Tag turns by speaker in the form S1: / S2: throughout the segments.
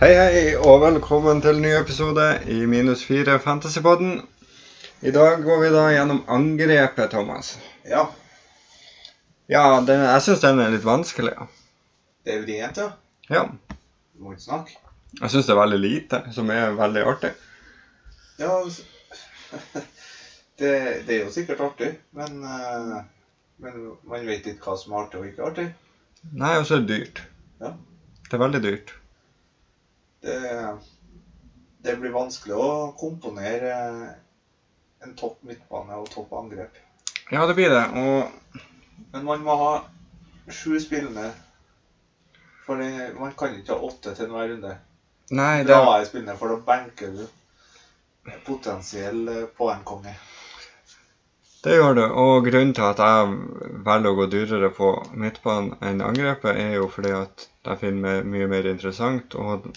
S1: Hei, hei, og velkommen til en ny episode i Minus 4 Fantasypodden. I dag går vi da gjennom angrepet, Thomas.
S2: Ja,
S1: Ja, den, jeg syns den er litt vanskelig. ja.
S2: det er jo det heter.
S1: Ja.
S2: Må ikke snakke.
S1: Jeg syns det er veldig lite, som er veldig artig.
S2: Ja, altså, det, det er jo sikkert artig, men, eh, men man vet ikke hva som er artig og ikke artig.
S1: Nei, og så er det dyrt.
S2: Ja.
S1: Det er veldig dyrt.
S2: Det, det blir vanskelig å komponere eh, en topp midtbane og topp angrep.
S1: Ja, det blir det. Og
S2: Men man må ha sju spillende, for det, man kan ikke ha åtte til enhver runde.
S1: Nei, det,
S2: Da er spillende, for da benker du potensiell eh, poengkonge.
S1: det gjør det. Og grunnen til at jeg velger å gå dyrere på midtbanen enn angrepet, er jo fordi at jeg finner meg mye mer interessant. og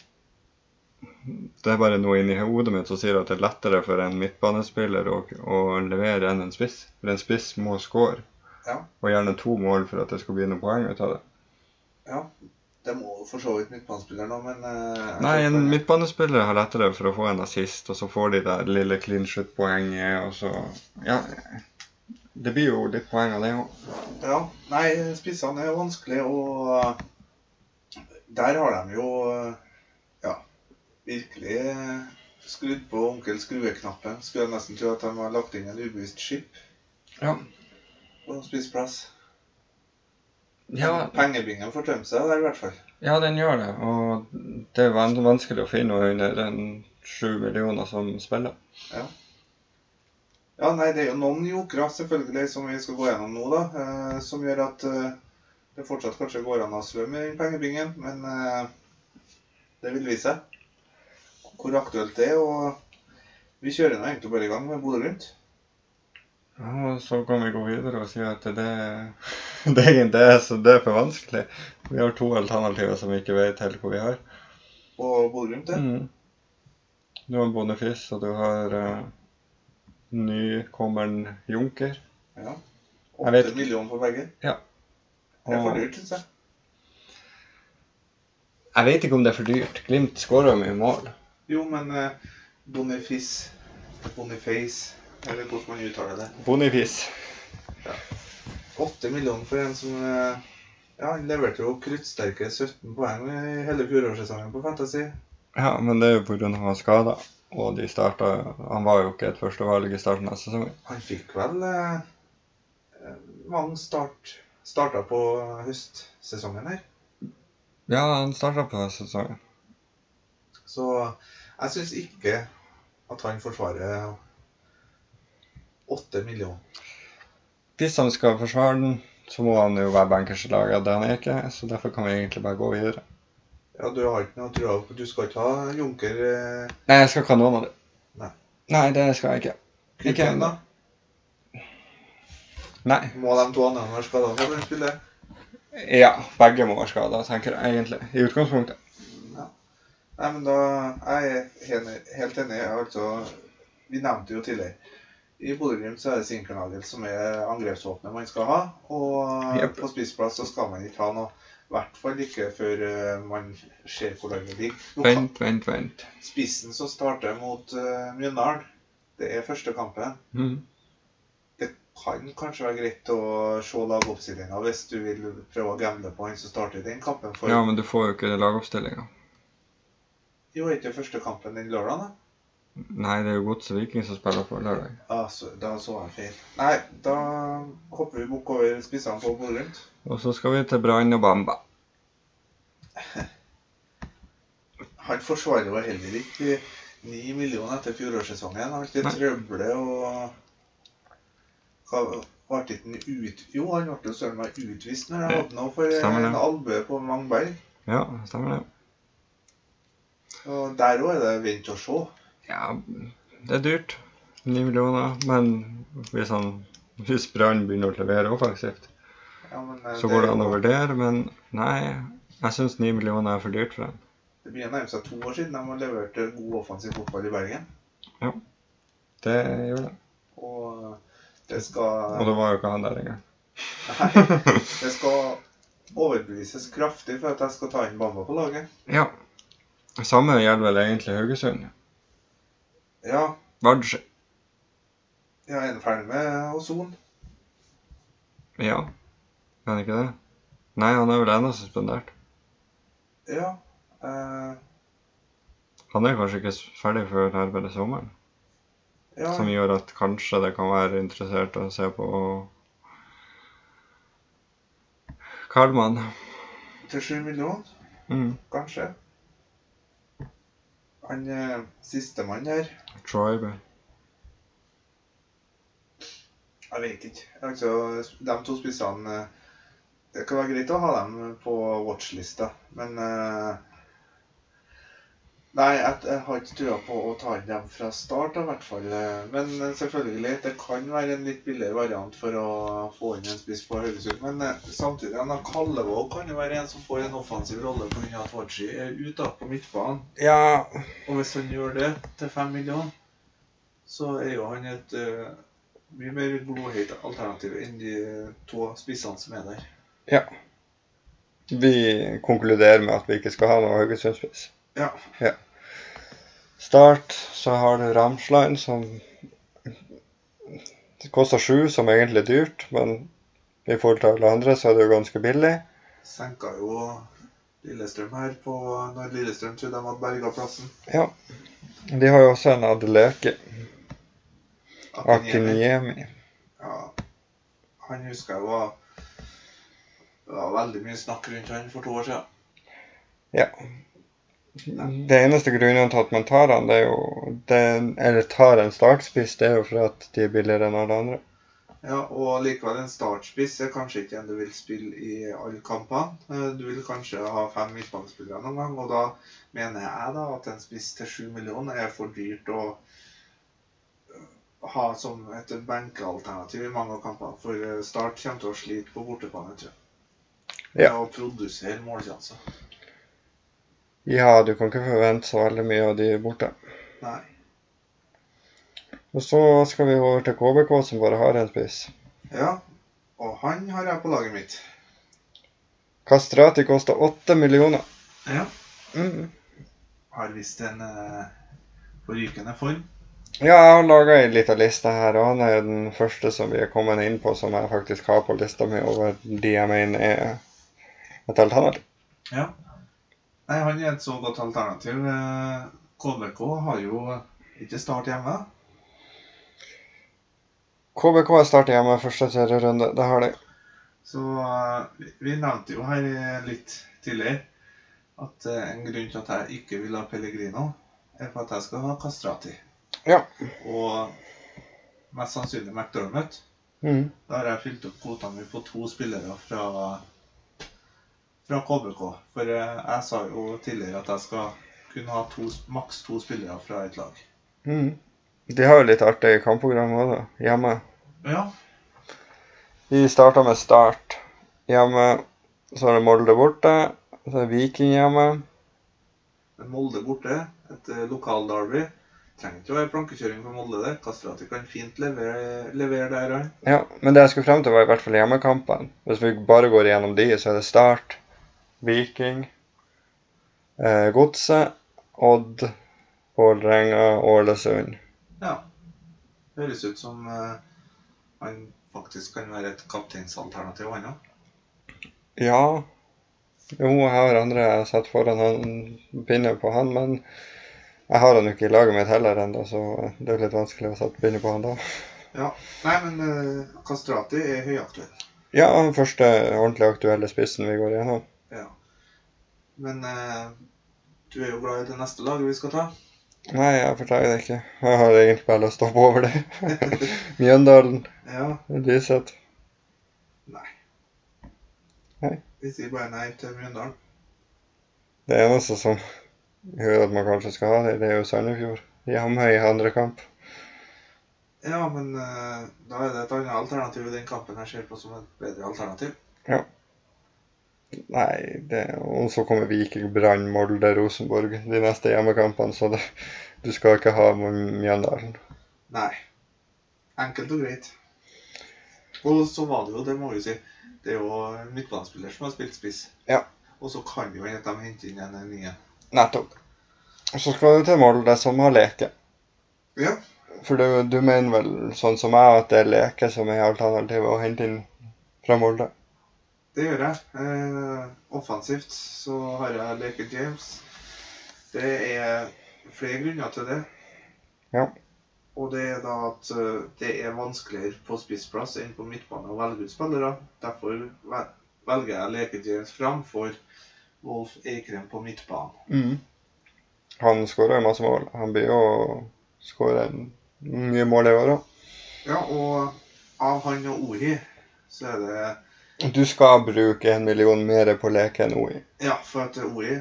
S1: det er bare noe inni hodet mitt som sier at det er lettere for en midtbanespiller å, å levere enn en spiss. For en spiss må score,
S2: Ja.
S1: og gjerne to mål for at det skal bli noen poeng ut av det.
S2: Det må for så vidt midtbanespilleren òg, men eh,
S1: Nei,
S2: jeg tror
S1: en
S2: ikke-
S1: midtbanespiller har lettere for å få en assist, og så får de det lille clean shit-poenget, og så Ja. Det blir jo litt poeng av det òg.
S2: Ja, nei, spissene er jo vanskelig, og eh, der har de jo eh, ja, virkelig eh, skrudd på onkel skrue-knappen. Skulle jeg nesten tro at de har lagt inn en ubevisst skip
S1: Ja.
S2: på spissplass.
S1: Ja,
S2: Pengebingen får tømt seg der, i hvert fall.
S1: ja, den gjør det, og det er van- vanskelig å finne noe under den sju millioner som spiller.
S2: Ja, nei, det er jo noen jokere, selvfølgelig, som vi skal gå gjennom nå, da, eh, som gjør at eh, det fortsatt kanskje går an å svømme i den pengebingen, men eh, det vil vise seg hvor aktuelt det er. Og vi kjører nå egentlig bare i gang med Bodø-Glimt.
S1: Ja, og så kan vi gå videre og si at det, det, er- det, er, så det er for vanskelig. Vi har to alternativer som vi ikke vet helt hvor vi har.
S2: Og Bodø-Glimt, det.
S1: Mm. Du har Boniface, og du har eh, nykommeren Junker.
S2: Ja.
S1: Jeg vet
S2: 8 millioner for begge. Det er for
S1: Og
S2: dyrt, syns jeg.
S1: jeg vet ikke om det er for dyrt. Glimt skårer jo mye mål.
S2: Jo, men eh, Boniface Boniface, eller hvordan man uttaler det.
S1: Boniface.
S2: 8 millioner for en som eh, ja, han leverte jo kruttsterke 17 poeng i hele fjorårssesongen på Fantasy.
S1: Ja, men det er jo pga. skader. Og de starta Han var jo ikke et førstevalg i starten av sesongen.
S2: Han fikk vel eh, eh, mange start starta på høstsesongen her.
S1: Ja, han starta på sesongen.
S2: Så jeg syns ikke at han forsvarer 8 millioner.
S1: Hvis han skal forsvare den, så må han jo være bankers i laget. Det han er ikke, så derfor kan vi egentlig bare gå videre.
S2: Ja, du har ikke noe trua på Du skal ikke ha Junker eh,
S1: Nei, jeg skal ikke ha noen av det.
S2: Nei.
S1: Nei, det skal jeg ikke. Ikke
S2: Kuken, da?
S1: Nei.
S2: Må de to andre være skada for å spille?
S1: Ja, begge må være skada, tenker jeg egentlig. I utgangspunktet.
S2: Nei, men da Jeg er enig, helt enig. Altså, vi nevnte jo tidligere I Bodø-Glimt så er det Sinkernagel som er angrepsvåpenet man skal ha. Og
S1: Jep.
S2: på spissplass så skal man ikke ha noe. I hvert fall ikke før eh, man ser hvordan det ligger. Nå kan-
S1: Vent, vent, vent.
S2: Spissen som starter mot uh, Mjøndalen, det er første kampen.
S1: Mhm.
S2: Det kan kanskje være greit å se lagoppstillinga hvis du vil prøve å gamble på han som starter den kampen. For
S1: Ja, men du får jo ikke lagoppstillinga.
S2: jo, er ikke første kampen den lørdagen, da?
S1: Nei, det er jo Godset Viking som spiller på lørdag.
S2: Altså, da så jeg feil. Nei, da hopper vi bukk over spissene på Bodø Glimt.
S1: Og så skal vi til Brann og Bamba.
S2: Han forsvarer jo heller ikke ni millioner etter fjorårssesongen. Han har
S1: Nei.
S2: litt trøble og Hva ble ikke han ut... Jo, han ble jo søren meg utvist når han
S1: Ja,
S2: hadde noe for
S1: stemmer det.
S2: en albue på Mangberg.
S1: Ja, stemmer det.
S2: Og der òg er det vent og se.
S1: Ja, det er dyrt. 9 millioner. Men hvis han hvis Brann begynner å levere offensivt,
S2: Ja, men, eh,
S1: så går det an å
S2: er jo-
S1: vurdere. Men nei, jeg syns 9 millioner er for dyrt for ham.
S2: Det begynner å nærme seg to år siden de har levert god offensiv fotball i Bergen.
S1: Det gjør det.
S2: Og det
S1: Og
S2: skal
S1: det var jo ikke han der engang.
S2: Nei. Det skal overbevises kraftig for at jeg skal ta inn Bamba på laget.
S1: Ja. Samme gjelder vel egentlig Haugesund.
S2: Ja,
S1: Vard
S2: ja, er den ferdig med Ozon?
S1: Ja, er han ikke det? Nei, han er vel ennå suspendert.
S2: Ja. eh,
S1: Han er kanskje ikke s- ferdig før nærmere sommeren,
S2: ja.
S1: som gjør at kanskje det kan være interessert å se på Karlmann.
S2: Til 7 millioner,
S1: Mm.
S2: kanskje. Han eh, sistemann her
S1: Tribe.
S2: Jeg vet ikke. Altså, de to spissene eh, Det kan være greit å ha dem på watchlista, men eh, Nei, jeg, jeg har ikke trua på å ta inn dem fra start, da, i hvert fall. eh, Men eh, selvfølgelig, det kan være en litt billigere variant for å få inn en spiss på Haugesund. Men eh, samtidig, han har Kallevåg kan jo være en som får en offensiv rolle pga. at Watchy er ute da, på midtbanen.
S1: Ja.
S2: Og hvis han gjør det til fem millioner, så er jo han et eh, mye mer blodhøyt alternativ enn de to spissene som er der.
S1: Vi konkluderer med at vi ikke skal ha noe Haugesund-spiss.
S2: Ja.
S1: Start, så har du Ramsland som Det koster sju, som egentlig er dyrt, men i forhold til alle andre så er det jo ganske billig.
S2: Senka jo Lillestrøm her på når Lillestrøm trodde de hadde berga plassen.
S1: Ja. De har jo også en Adeleke Akiniemi.
S2: Ja, han husker jeg var det var veldig mye snakk rundt han for to år siden.
S1: Det eneste grunnen til at man tar han, det er jo det, Eller tar en startspiss, det er jo for at de er billigere enn alle andre.
S2: Ja, og likevel en startspiss er kanskje ikke en du vil spille i alle kampene. Eh, Du vil kanskje ha fem midtbanespillere noen gang, og da mener jeg da at en spiss til sju millioner er for dyrt å eh, ha som et benkealternativ i mange av kampene. For eh, Start kommer til å slite på bortebane, tror jeg.
S1: Ja.
S2: Med å produsere målsjanser.
S1: Ja, du kan ikke forvente så veldig mye av de borte.
S2: Nei.
S1: Og så skal vi over til KBK, som bare har en spiss.
S2: Ja, og han har jeg på laget mitt.
S1: Kastrati koster åtte millioner.
S2: Ja.
S1: Mm.
S2: Har visst en eh, forrykende form.
S1: Ja, jeg har laga ei lita liste her, og han er den første som vi er kommet inn på som jeg faktisk har på lista mi over de jeg mener er et alternativ.
S2: Nei, han er et så godt alternativ. Eh, KBK har jo eh, ikke start hjemme.
S1: KBK starter hjemme første serierunde. Det har de.
S2: Så eh, vi- vi nevnte jo her eh, litt tidligere at eh, en grunn til at jeg ikke vil ha Pellegrino, er for at jeg skal ha Kastrati.
S1: Ja.
S2: Og mest sannsynlig McDermott.
S1: Mm.
S2: Da har jeg fylt opp kvota mi på to spillere fra, fra KBK. For eh, jeg sa jo tidligere at jeg skal kunne ha to, maks to spillere fra et lag.
S1: Mm. De har jo litt artig kampprogram òg, da. Hjemme.
S2: Ja,
S1: Vi starta med Start hjemme. Så er det Molde borte. Så er det Viking hjemme.
S2: Men Molde borte, et eh, lokalderby. Trenger ikke å være plankekjøring for Molde der. Kastrati kan fint levere, levere der han.
S1: Ja, men det jeg skulle frem til, var i hvert fall hjemmekampene. Hvis vi bare går igjennom de, så er det Start, Viking, eh, Godset, Odd, Vålerenga, Ålesund.
S2: Ja. Høres ut som eh, han faktisk kan være et kapteinsalternativ, han òg.
S1: Ja Jo, jeg har andre jeg har satt foran han, pinne på han, men jeg har han jo ikke i laget mitt heller ennå, så det er jo litt vanskelig å sette pinne på han da.
S2: Nei, men eh, Kastrati er høyaktuell.
S1: Ja, den første ordentlig aktuelle spissen vi går igjennom.
S2: Ja. Men eh, du er jo glad i det neste laget vi skal ta.
S1: Nei, jeg forteller det ikke. Jeg har egentlig bare lyst til å hoppe over det. Mjøndalen,
S2: Ja.
S1: Lyset.
S2: Vi sier bare nei til Mjøndalen.
S1: Det eneste som gjør at man kanskje skal ha det, det er jo Sandefjord. Jamhøy i andre kamp.
S2: Ja, men eh, da er det et annet alternativ i den kampen jeg ser på som et bedre alternativ.
S1: Nei, det, og så kommer Viking, Brann, Molde, Rosenborg de neste hjemmekampene, så det, du skal ikke ha Mjøndalen.
S2: Nei. Enkelt og greit. Og så var det jo, det må vi si, det er jo en midtbanespiller som har spilt spiss.
S1: Ja.
S2: Og så kan det jo hende at de henter inn en nier.
S1: Nettopp. Og så skal du til Molde, som har leke.
S2: Ja.
S1: For du, du mener vel, sånn som jeg, at det er leke som er alternativet å hente inn fra Molde?
S2: Det gjør jeg. Eh, offensivt så har jeg Laker James. Det er flere grunner til det.
S1: Ja.
S2: Og det er da at eh, det er vanskeligere på spissplass enn på midtbane å velge ut spillere. Derfor vel- velger jeg Laker James framfor Wolf Eikrem på midtbanen.
S1: Han skårer jo masse mål. Han blir jo skåre mye mål i år òg.
S2: Ja, og av han og Ori så er det
S1: Du skal bruke en million mer på leke enn OI.
S2: Ja, for at Ori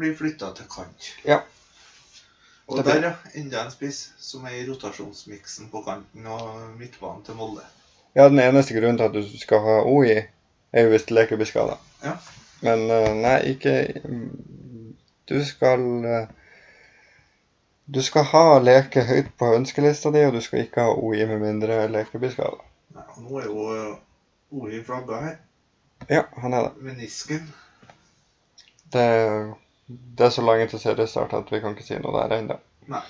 S2: blir flytta til kant.
S1: Ja.
S2: Og
S1: Det blir-
S2: der, ja. Enda en spiss som er i rotasjonsmiksen på kanten og midtbanen til Molde.
S1: Ja, den eneste grunnen til at du skal ha OI, er jo hvis leke blir skada.
S2: Ja.
S1: Men eh, nei, ikke Du skal eh, Du skal ha leke høyt på ønskelista di, og du skal ikke ha OI med mindre leke blir skada.
S2: Nei, og nå er jo Ori flagga her.
S1: Ja, han er det.
S2: Menisken.
S1: Det, det er så langt til seriestart at vi kan ikke si noe der ennå.
S2: Nei,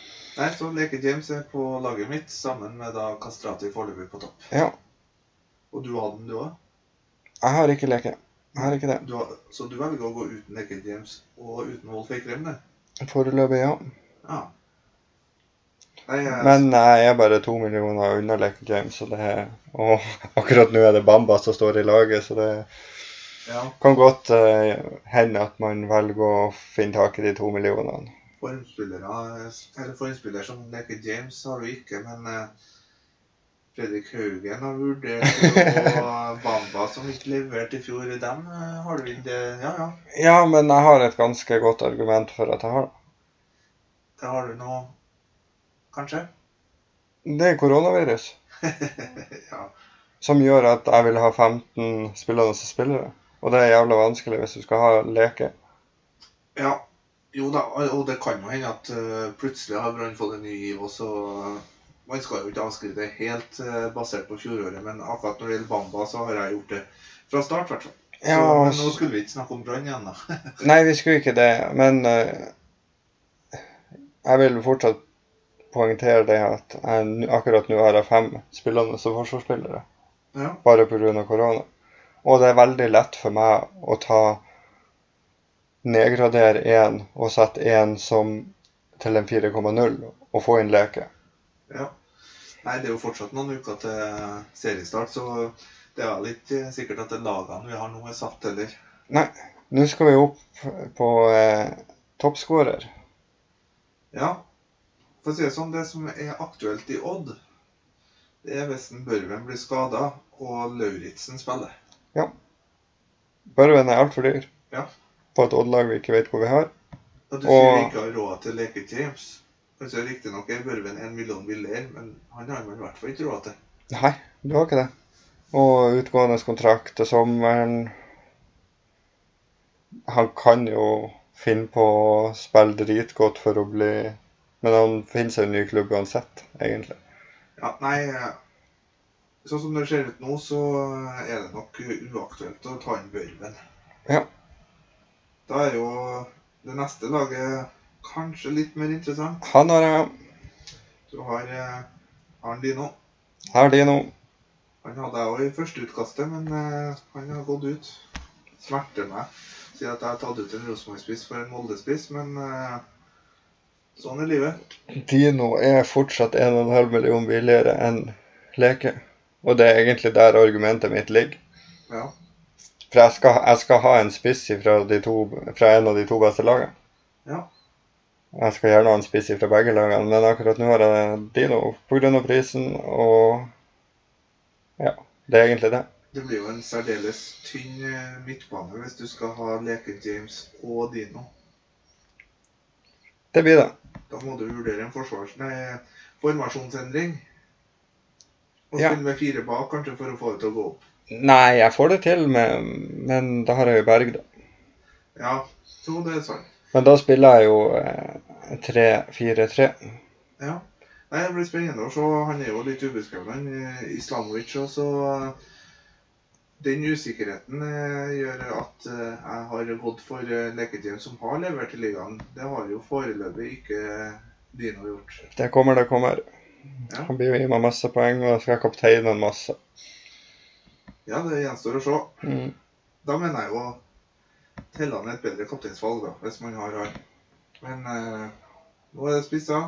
S2: så Leke James er på laget mitt sammen med da Kastrati foreløpig på topp.
S1: Ja.
S2: Og du hadde den, du òg?
S1: Jeg har ikke leke. Jeg har ikke det.
S2: Du har- Så du velger å gå uten Leke James og uten Wolf Eikrem, det?
S1: Foreløpig, ja.
S2: Ja. Nei, jeg-
S1: Men eh, jeg er bare to millioner unna Leke James, så det er Og akkurat nå er det Bamba som står i laget, så det
S2: ja.
S1: kan godt eh, hende at man velger å finne tak i de to millionene.
S2: Formspillere, eller formspiller som Leke James har du ikke, men eh, Fredrik Haugen har vurdert det, og Bamba som ikke leverte i fjor, dem eh, har du ikke Ja, ja.
S1: Ja, men jeg har et ganske godt argument for at jeg har det.
S2: Det har du nå, kanskje?
S1: Det er koronavirus
S2: ja.
S1: som gjør at jeg vil ha 15 spillende spillere. Og det er jævla vanskelig hvis du skal ha leke.
S2: ja. Jo da, og og det kan jo hende at eh, plutselig har Brann fått en ny giv, og så Man skal jo ikke avskrive det helt eh, basert på fjoråret, men akkurat når det gjelder Bamba, så har jeg gjort det fra start, i hvert fall. Så-
S1: Ja,
S2: men
S1: altså-
S2: nå skulle vi ikke snakke om Brann igjen, da.
S1: Nei, vi skulle ikke det, men eh, jeg vil fortsatt poengtere det at jeg, n- akkurat nå har jeg fem spillende som forsvarsspillere,
S2: ja.
S1: bare pga. korona. Og det er veldig lett for meg å ta nedgradere én og sette én som til en 4,0 og få inn leke.
S2: Ja. Nei, det er jo fortsatt noen uker til seriestart, så det er vel ikke sikkert at det lagene vi har nå, er satt heller.
S1: Nå skal vi opp på eh, toppskårer.
S2: Ja. For å si det sånn, det som er aktuelt i Odd, det er hvis en Børven blir skada og Lauritzen spiller.
S1: Børven er altfor dyr
S2: Ja.
S1: på et oddlag vi ikke vet hvor vi har.
S2: Og du sier vi
S1: Og-
S2: ikke har råd til Leke James. Altså, Riktignok er Børven en million billigere, men han har man i hvert fall ikke råd til.
S1: Nei, du har ikke det. Og utgående kontrakt til sommeren Han kan jo finne på å spille dritgodt for å bli Men han finner seg en ny klubb uansett, egentlig.
S2: Ja, nei eh, Sånn som det ser ut nå, så er det nok uaktuelt å ta inn Børven.
S1: Ja.
S2: Da er jo det neste laget kanskje litt mer interessant.
S1: Han har jeg.
S2: Du har eh, Arn Dino.
S1: Her er de nå.
S2: Han hadde jeg òg i førsteutkastet, men eh, han har gått ut. Smerter meg. Sier at jeg har tatt ut en Rosenborg-spiss for en Molde-spiss, men eh, sånn er livet.
S1: Dino er fortsatt 1,5 million billigere enn Leke. Og det er egentlig der argumentet mitt ligger.
S2: Ja.
S1: For jeg skal, jeg skal ha en spiss fra, de to, fra en av de to beste lagene.
S2: Ja.
S1: Jeg skal gjerne ha en spiss fra begge lagene, men akkurat nå har jeg Dino pga. prisen og Ja, det er egentlig det.
S2: Det blir jo en særdeles tynn eh, midtbane hvis du skal ha Leke James og Dino.
S1: Det blir det.
S2: Da må du vurdere en forsvars... Nei, formasjonsendring. Og
S1: Ja.
S2: spille med fire bak, kanskje, for å få det til å gå opp.
S1: Nei, jeg får det til, men, men da har jeg jo Berg, da.
S2: Ja, jo, det er sant.
S1: Men da spiller jeg jo eh, 3-4-3.
S2: Ja. Nei, det blir spennende å se. Han er jo litt ubeskrevet, han eh, Islamovic. Og så eh, den usikkerheten eh, gjør at eh, jeg har gått for eh, leketeam som har levert i ligaen. Det har jo foreløpig ikke Dino gjort.
S1: Det kommer, det kommer.
S2: Ja.
S1: Han blir jo gi meg masse poeng, og jeg skal kapteine en masse.
S2: Ja, det gjenstår å se.
S1: Mm.
S2: Da mener jeg jo Telland er et bedre kapteinsvalg, da, hvis man har han. Men eh, nå er det spissa,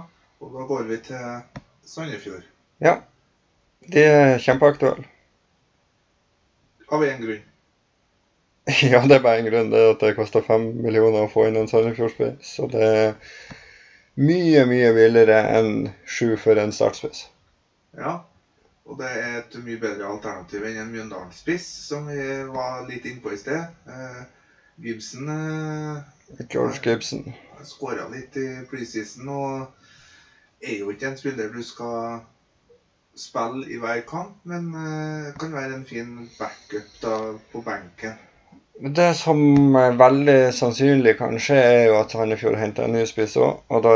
S2: og da går vi til Sandefjord.
S1: De er kjempeaktuelle.
S2: Av én grunn.
S1: Ja, det er bare en grunn. Det er at det koster fem millioner å få inn en Sandefjordspiss. Og det er mye, mye billigere enn sju for en startspiss.
S2: Ja. Og det er et mye bedre alternativ enn en Mjøndalen-spiss, som vi var litt innpå i sted. Eh, Gibson eh,
S1: George Gibson.
S2: skåra litt i preseason og er jo ikke en spiller du skal spille i hver kamp, men eh, kan være en fin backup da på benken.
S1: Det som er veldig sannsynlig kan skje, er jo at Sandefjord henter en ny spiss òg. Og da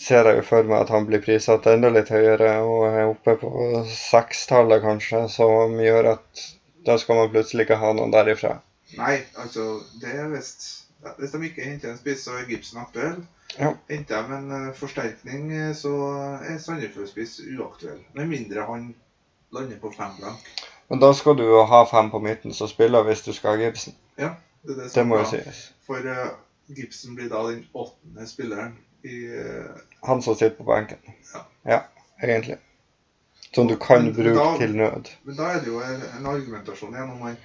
S1: ser jeg jo for meg at han blir prissatt enda litt høyere og er oppe på sekstallet, kanskje, som gjør at da skal man plutselig ikke ha noen derifra.
S2: Nei, altså det er visst ja, Hvis de ikke henter en spiss, så er Gibson aktuell.
S1: Ja.
S2: Henter de en eh, forsterkning, eh, så er Sandefjord-spiss uaktuell. Med mindre han lander på fem blank.
S1: Men da skal du jo ha fem på midten som spiller hvis du skal ha Gibson.
S2: Det, er det,
S1: Det
S2: som
S1: må
S2: er
S1: jo
S2: bra.
S1: sies.
S2: For eh, Gibson blir da den åttende spilleren i eh,
S1: Han som sitter på benken.
S2: Ja.
S1: Ja, egentlig. Som du kan
S2: Men da-
S1: bruke til nød.
S2: Men da er det jo en, en argumentasjon igjen om man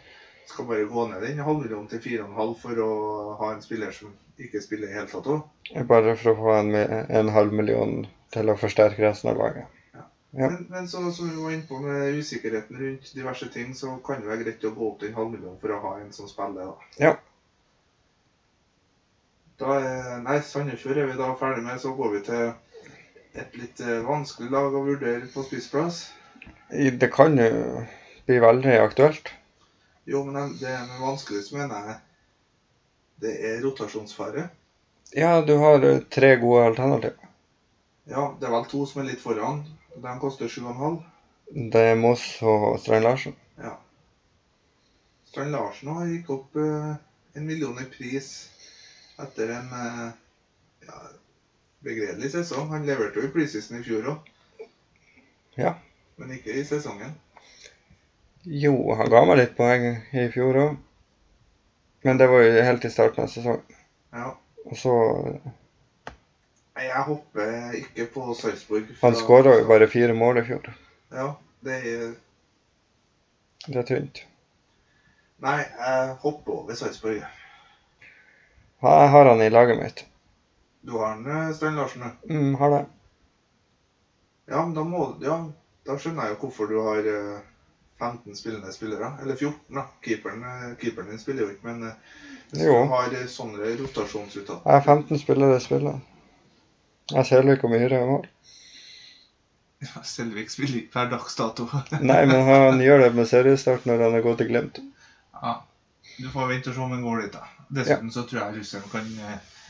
S2: skal bare gå ned den halvmillionen til fire og en halv for å ha en spiller som ikke spiller i hele tatt òg.
S1: Bare for å få en, en halv million til å forsterke resten av laget. Ja.
S2: Men, men så, som vi var inne på med usikkerheten rundt diverse ting, så kan det være greit å gå opp til en halv million for å ha en som spiller, da.
S1: Ja.
S2: Da er, nei, Sandefjord er vi da ferdig med. Så går vi til et litt eh, vanskelig lag å vurdere på spissplass.
S1: I- Det kan jo bli veldig aktuelt.
S2: Jo, men den- det med vanskeligst mener jeg det er rotasjonsfare.
S1: Ja, du har eh, tre gode alternativer.
S2: Ja, det er vel to som er litt foran. De koster 7,5.
S1: Det er Moss og Strand Larsen.
S2: Strand Larsen har gikk opp eh, en million i pris etter en eh, ja, begredelig sesong. Han leverte jo i preseason i fjor òg.
S1: Ja.
S2: Men ikke i sesongen.
S1: Jo, han ga meg litt poeng i fjor òg. Men det var jo helt i starten av sesongen.
S2: Ja.
S1: Og så
S2: Nei, jeg hopper ikke på Sarpsborg.
S1: Han
S2: fra-
S1: skåra jo bare fire mål i fjor.
S2: Ja, det er
S1: Det er tynt.
S2: Nei, jeg hopper over Sarpsborg. jeg.
S1: Ja, Jeg har han i laget mitt.
S2: Du har den, eh, Strand Larsen, du.
S1: Mm, har det.
S2: Ja, men da må Ja, da skjønner jeg jo hvorfor du har eh, 15 spillende spillere. Eller 14, da. Keeperen, eh, keeperen din spiller jo ikke, men eh, hvis
S1: Jo.
S2: du har eh, sånne rotasjonsuttak
S1: Jeg har 15 spillere i spillet. Jeg ser jo ikke om Myhre er mål.
S2: Selvik spiller ikke per dags dato.
S1: Nei, men han gjør det med seriestart når han er gått til Glimt.
S2: ja. Du får vente og se om han går dit, da. Dessuten så tror jeg russeren kan eh,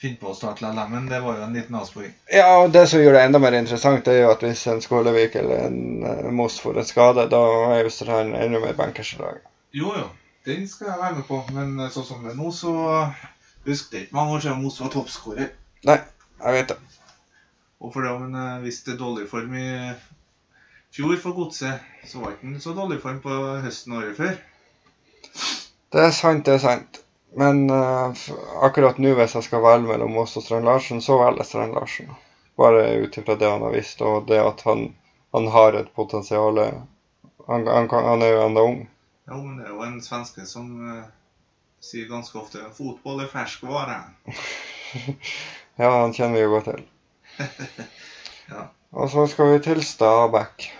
S2: finne på å starte LLM, men det var jo en liten avsporing.
S1: Ja, og det som gjør det enda mer interessant, det er jo at hvis en Skålevik eller en eh, Moss får en skade, da er jo Strand enda mer bankers i dag.
S2: Jo, jo. Den skal jeg være med på, men eh, sånn som det er nå, så eh, Husk, det er ikke mange år siden Mos var toppskårer.
S1: Jeg vet det.
S2: Og for det om han eh, viste dårlig form i eh, fjor for godset, så var ikke han så dårlig form på høsten året før.
S1: Det er sant, det er sant. Men eh, f- akkurat nå, hvis jeg skal velge mellom Moss og Strand Larsen, så velger jeg Strand Larsen. Bare ut ifra det han har visst, og det at han, han har et potensial. Han, han, kan, han er jo enda ung.
S2: Jo, men det er jo en svenske som eh, sier ganske ofte 'fotball er ferskvare'.
S1: Ja, han kjenner vi jo godt til.
S2: Ja.
S1: Og så skal vi til Stabæk.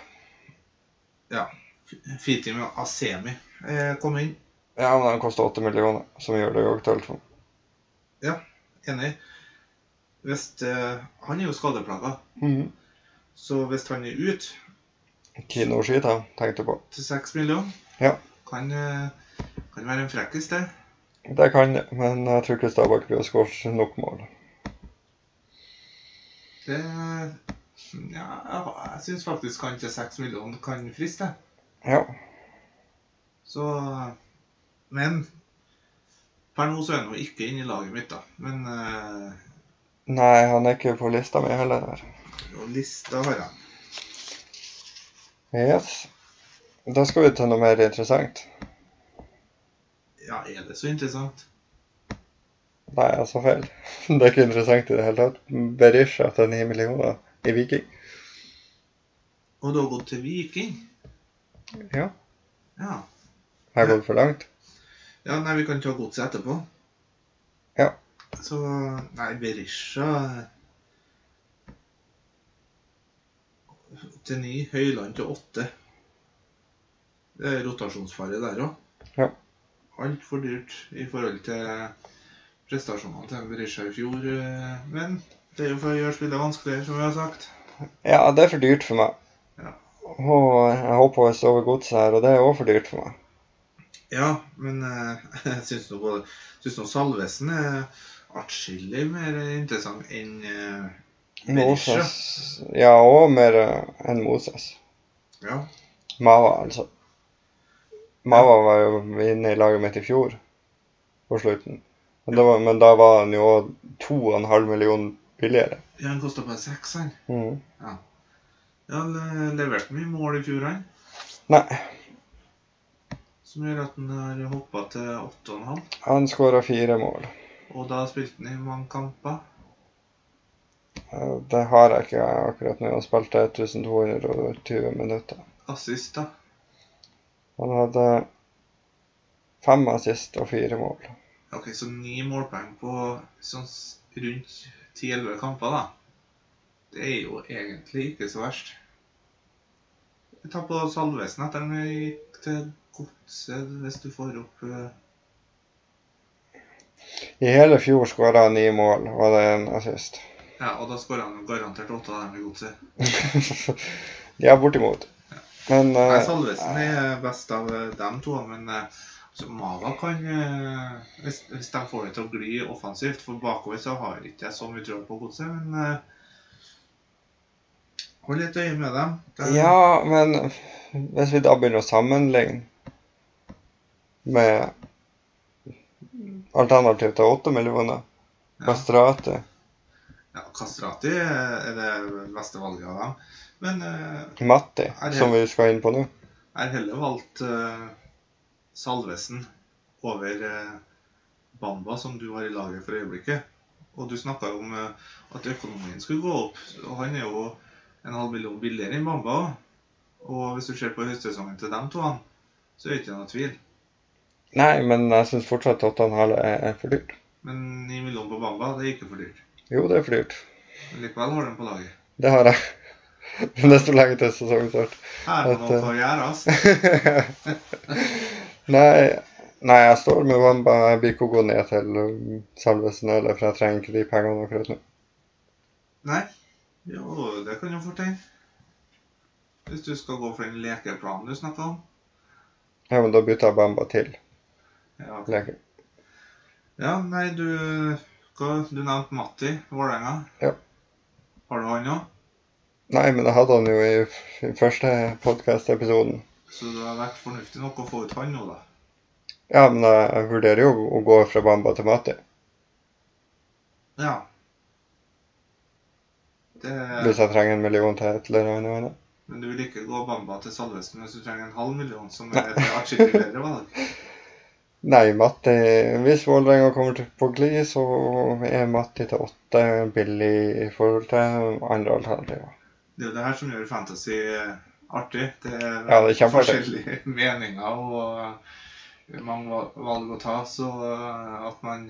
S2: F- Fitim Asemi eh, kom inn.
S1: Ja, men han koster åtte millioner, som gjør det jo aktuelt. for-
S2: Enig. Hvis, eh, han er jo skadeplaga,
S1: Mhm.
S2: så hvis han er ute
S1: Kino Shita, tenkte jeg på.
S2: til seks millioner,
S1: Ja.
S2: kan, eh, kan være en frekkis, det.
S1: Det kan det, men jeg tror ikke Stabæk blir å skåre nok mål.
S2: det ja, jeg, jeg syns faktisk han til seks millioner kan friste.
S1: Ja.
S2: Så Men per nå så er han jo ikke inne i laget mitt, da. Men eh,
S1: Nei, han er ikke på lista mi heller.
S2: og lista har jeg.
S1: Yes. Da skal vi til noe mer interessant.
S2: Ja, er det så interessant?
S1: Nei, altså feil. Det er ikke interessant i det hele tatt. Berisha til 9 millioner i Viking.
S2: Og du har gått til Viking?
S1: Ja.
S2: Ja.
S1: Har jeg gått for langt?
S2: Ja, nei, vi kan ta godset etterpå.
S1: Ja.
S2: Så Nei, Berisha Til ni, Høyland til åtte. Det er rotasjonsfare der òg.
S1: Ja.
S2: Altfor dyrt i forhold til prestasjonene til Berisha i fjor. eh, Men det er jo for å gjøre spillet vanskeligere, som vi har sagt.
S1: Ja, det er for dyrt for meg.
S2: Ja.
S1: Og jeg håper jeg står ved godset her, og det er også for dyrt for meg.
S2: Ja, men eh, jeg syns nå både Syns nå Salvesen er atskillig mer interessant enn eh, Berisha.
S1: Moses. Ja, og mer eh, enn Moses.
S2: Ja.
S1: Mava, altså. Mava var jo inne i laget mitt i fjor, på slutten. Men, det var, men da var han jo 2,5 millioner billigere.
S2: Ja, han kosta bare seks, han.
S1: Mhm.
S2: Ja, han eh, leverte mye mål i fjor, han.
S1: Nei,
S2: Som gjør at han har hoppa til åtte og en halv.
S1: han skåra fire mål.
S2: Og da spilte han i mange kamper.
S1: Eh, Det har jeg ikke akkurat nå. Han spilte 1220 minutter.
S2: Assist, da.
S1: Han hadde fem assist og fire mål.
S2: OK, så ni målpoeng på sånn s- rundt ti-elleve kamper, da. Det er jo egentlig ikke så verst. Vi tar på Salvesen etter han gikk til Godset, hvis du får opp eh,
S1: I hele fjor skåra han ni mål, og det er en assist.
S2: Ja, og da skårer han garantert åtte av dem i Godset.
S1: ja, bortimot. Men eh,
S2: Nei, Salvesen er best av eh, dem to, men eh, altså, Mava kan eh, hvis, hvis de får det til å gli offensivt, for bakover så har ikke jeg så mye tro på godset, men eh, hold litt øye med dem. De,
S1: Ja, men hvis vi da begynner å sammenligne med alternativ til 8 millioner,
S2: Ja.
S1: Kastrati
S2: ja, Kastrati er det beste valget av dem, men eh,
S1: Matti,
S2: Ja, det-
S1: som vi skal inn på nå
S2: jeg har heller valgt eh, Salvesen over eh, Bamba, som du har i laget for øyeblikket. Og du snakka om eh, at økonomien skulle gå opp. Og han er jo en halv million billigere enn Bamba òg. Og hvis du ser på høstsesongen til dem to, han, så er det ikke noe tvil.
S1: Nei, men jeg syns fortsatt 8,5 er er for dyrt.
S2: Men 9 millioner på Bamba, det er ikke for dyrt.
S1: Jo, det er for dyrt.
S2: Men likevel har de på laget.
S1: Det har jeg. Men det står lenge til sesongstart.
S2: Her er det
S1: At,
S2: noe altså.
S1: eh,
S2: karriere, ass.
S1: Nei, nei, jeg står med Wamba. Jeg blir ikke å gå ned til um, Salvesen heller, for jeg trenger ikke de pengene akkurat nå.
S2: Nei. Jo, det kan jo fortelle. Hvis du skal gå for den lekeplanen du snakka om.
S1: Ja, men da bytter jeg Bamba til.
S2: Ja,
S1: Leker.
S2: Ja, nei, du, hva, du nevnte Matti Vålerenga.
S1: Ja.
S2: Har du han òg?
S1: Nei, men jeg hadde han jo i f- i første podcast-episoden.
S2: Så du har vært fornuftig nok å få ut han nå, da.
S1: Ja, men jeg jeg vurderer jo å gå fra Bamba til Matti.
S2: Ja. Det,
S1: Hvis jeg trenger en million til et eller annet. annet.
S2: men du vil ikke gå Bamba til Salvesen hvis du trenger en halv million, som er et atskillig bedre valg?
S1: Nei, Matti Hvis Vålerenga kommer til på gli, så er Matti til åtte billig i forhold til andre alternativer.
S2: Det er jo det her som gjør fantasy eh, artig. Det er,
S1: Ja, det er kjempeartig.
S2: forskjellige meninger og mange val- valg å ta, så eh, at man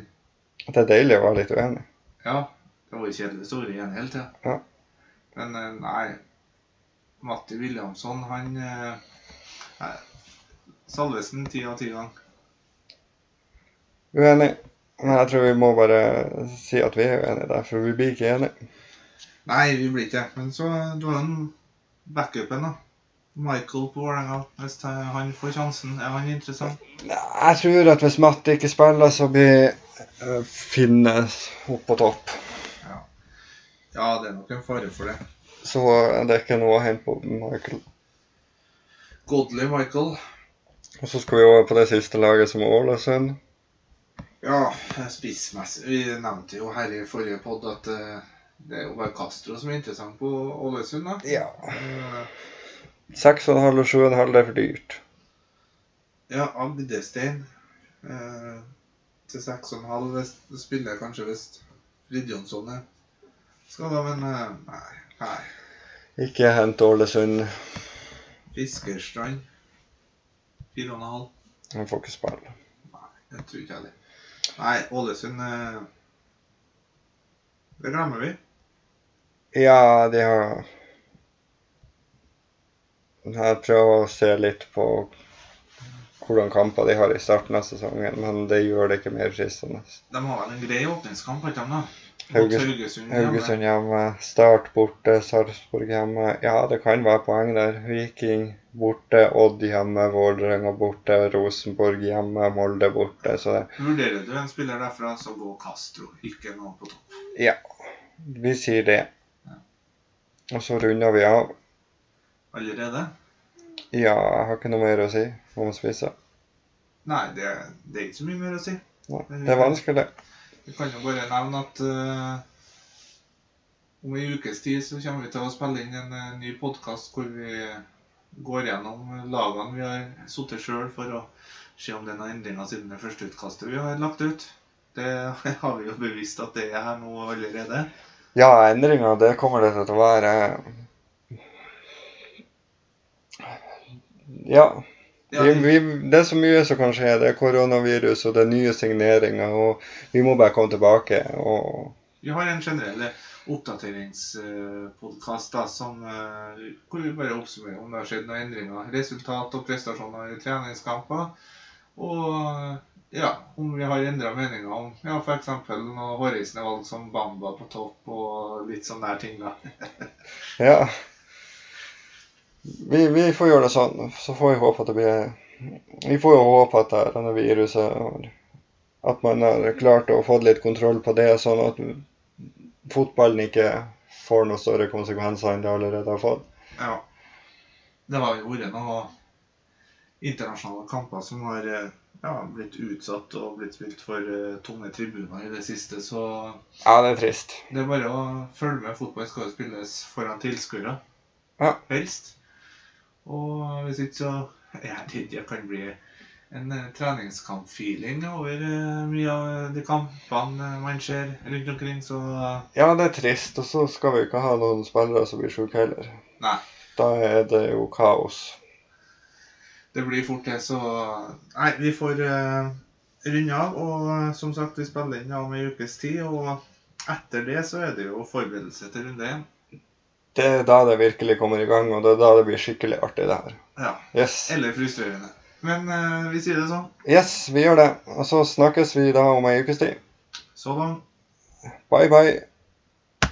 S1: Det er deilig å være litt uenig.
S2: Ja, det var jo kjedelig å være igjen hele tida.
S1: Ja.
S2: Men eh, nei, Matti Williamson, han eh, nei, Salvesen ti av ti gang.
S1: Uenig. Men jeg tror vi må bare si at vi er uenige der, for vi blir ikke enige.
S2: Nei, vi blir ikke Men så eh, du har jo en backupen, da. Michael på Vålerenga, hvis eh, han får sjansen. Er han interessant?
S1: Jeg tror at hvis Matti ikke spiller, så blir eh, Finnes opp på topp.
S2: Ja, det er nok en fare for det.
S1: Så eh, det er ikke noe å hente på Michael.
S2: Godly Michael.
S1: Og så skal vi over på det siste laget som er Ålesund.
S2: Ja, spissmessig Vi nevnte jo her i forrige podd at eh, det er jo bare Castro som er interessant på Ålesund. da.
S1: Ja.
S2: Eh,
S1: 6,5 og 7,5 det er for dyrt.
S2: Ja, Agdestein eh, til 6,5 hvis- spiller jeg kanskje hvis Fridjonsson er skada, men eh, nei. nei.
S1: Ikke hent Ålesund.
S2: Fiskerstrand 4,5.
S1: Han får ikke spille.
S2: Jeg tror ikke jeg det. Nei, Ålesund eh, Det glemmer vi.
S1: Ja, de har Jeg prøver å se litt på hvordan kamper de har i starten av sesongen, men det gjør det ikke mer fristende.
S2: De har vel en grei åpningskamp, har de ikke de, da? Mot
S1: Hauges-
S2: Haugesund. hjemme.
S1: Haugesund hjemme, Start borte, Sarpsborg hjemme. Ja, det kan være poeng der. Viking borte, Odd hjemme, Vålerenga borte, Rosenborg hjemme, Molde borte. Så det,
S2: Vurderer du en spiller derfra, så gå Castro. Ikke noe på topp.
S1: vi sier det. Og så runder vi av.
S2: Allerede?
S1: Ja, jeg har ikke noe mer å si om spisse.
S2: Nei, det, det er ikke så mye mer å si.
S1: Nei, Det er vanskelig.
S2: Vi kan jo bare nevne at eh, om en ukes tid så kommer vi til å spille inn en eh, ny podkast hvor vi går gjennom lagene vi har sittet sjøl, for å se om det er noen endringer siden det første utkastet vi har lagt ut. Det har vi jo bevisst at det er her nå allerede.
S1: Ja, endringer, det kommer det til å være. Ja.
S2: Ja,
S1: vi, vi, det er så mye som kan skje. Det er koronavirus og det er nye signeringer. og Vi må bare komme tilbake. og
S2: Vi har en generell oppdateringspodkast som eh, hvor vi bare oppsummerer om det har skjedd noen endringer. Resultat og prestasjoner i treningskamper. Og ja, om vi har endra meninger om ja, f.eks. når Hårreisen er valgt som Bamba på topp og litt sånne der ting. da.
S1: Ja. Vi, vi får gjøre det sånn. Så får vi håpe at det blir Vi får jo håpe at det- denne viruset har- At man har klart å få litt kontroll på det, sånn at fotballen ikke får noen større konsekvenser enn det allerede har fått.
S2: Ja. Det har jo vært noen internasjonale kamper som har eh, ja, blitt utsatt og blitt spilt for eh, tomme tribuner i det siste, så
S1: Ja, det er trist.
S2: Det er bare å følge med. Fotball skal jo spilles foran tilskuere.
S1: Ja.
S2: Helst. Og hvis ikke, så Jeg tror ikke det kan bli en eh, treningskampfeeling over eh, mye av de kampene man ser rundt omkring, så
S1: Ja, det er trist. Og så skal vi ikke ha noen spillere som blir syke heller.
S2: Nei.
S1: Da er det jo kaos.
S2: det blir fort det. Så Nei, vi får eh, runde av. Og eh, som sagt, vi spiller inn om ei ukes tid. Og etter det så er det jo forberedelse til runde én.
S1: Det er da det virkelig kommer i gang, og det er da det blir skikkelig artig, det her.
S2: Ja.
S1: Yes.
S2: Eller frustrerende. Men eh, vi sier det sånn.
S1: yes, vi gjør det. Og så snakkes vi da om ei ukes tid.
S2: Så langt.
S1: Bye, bye.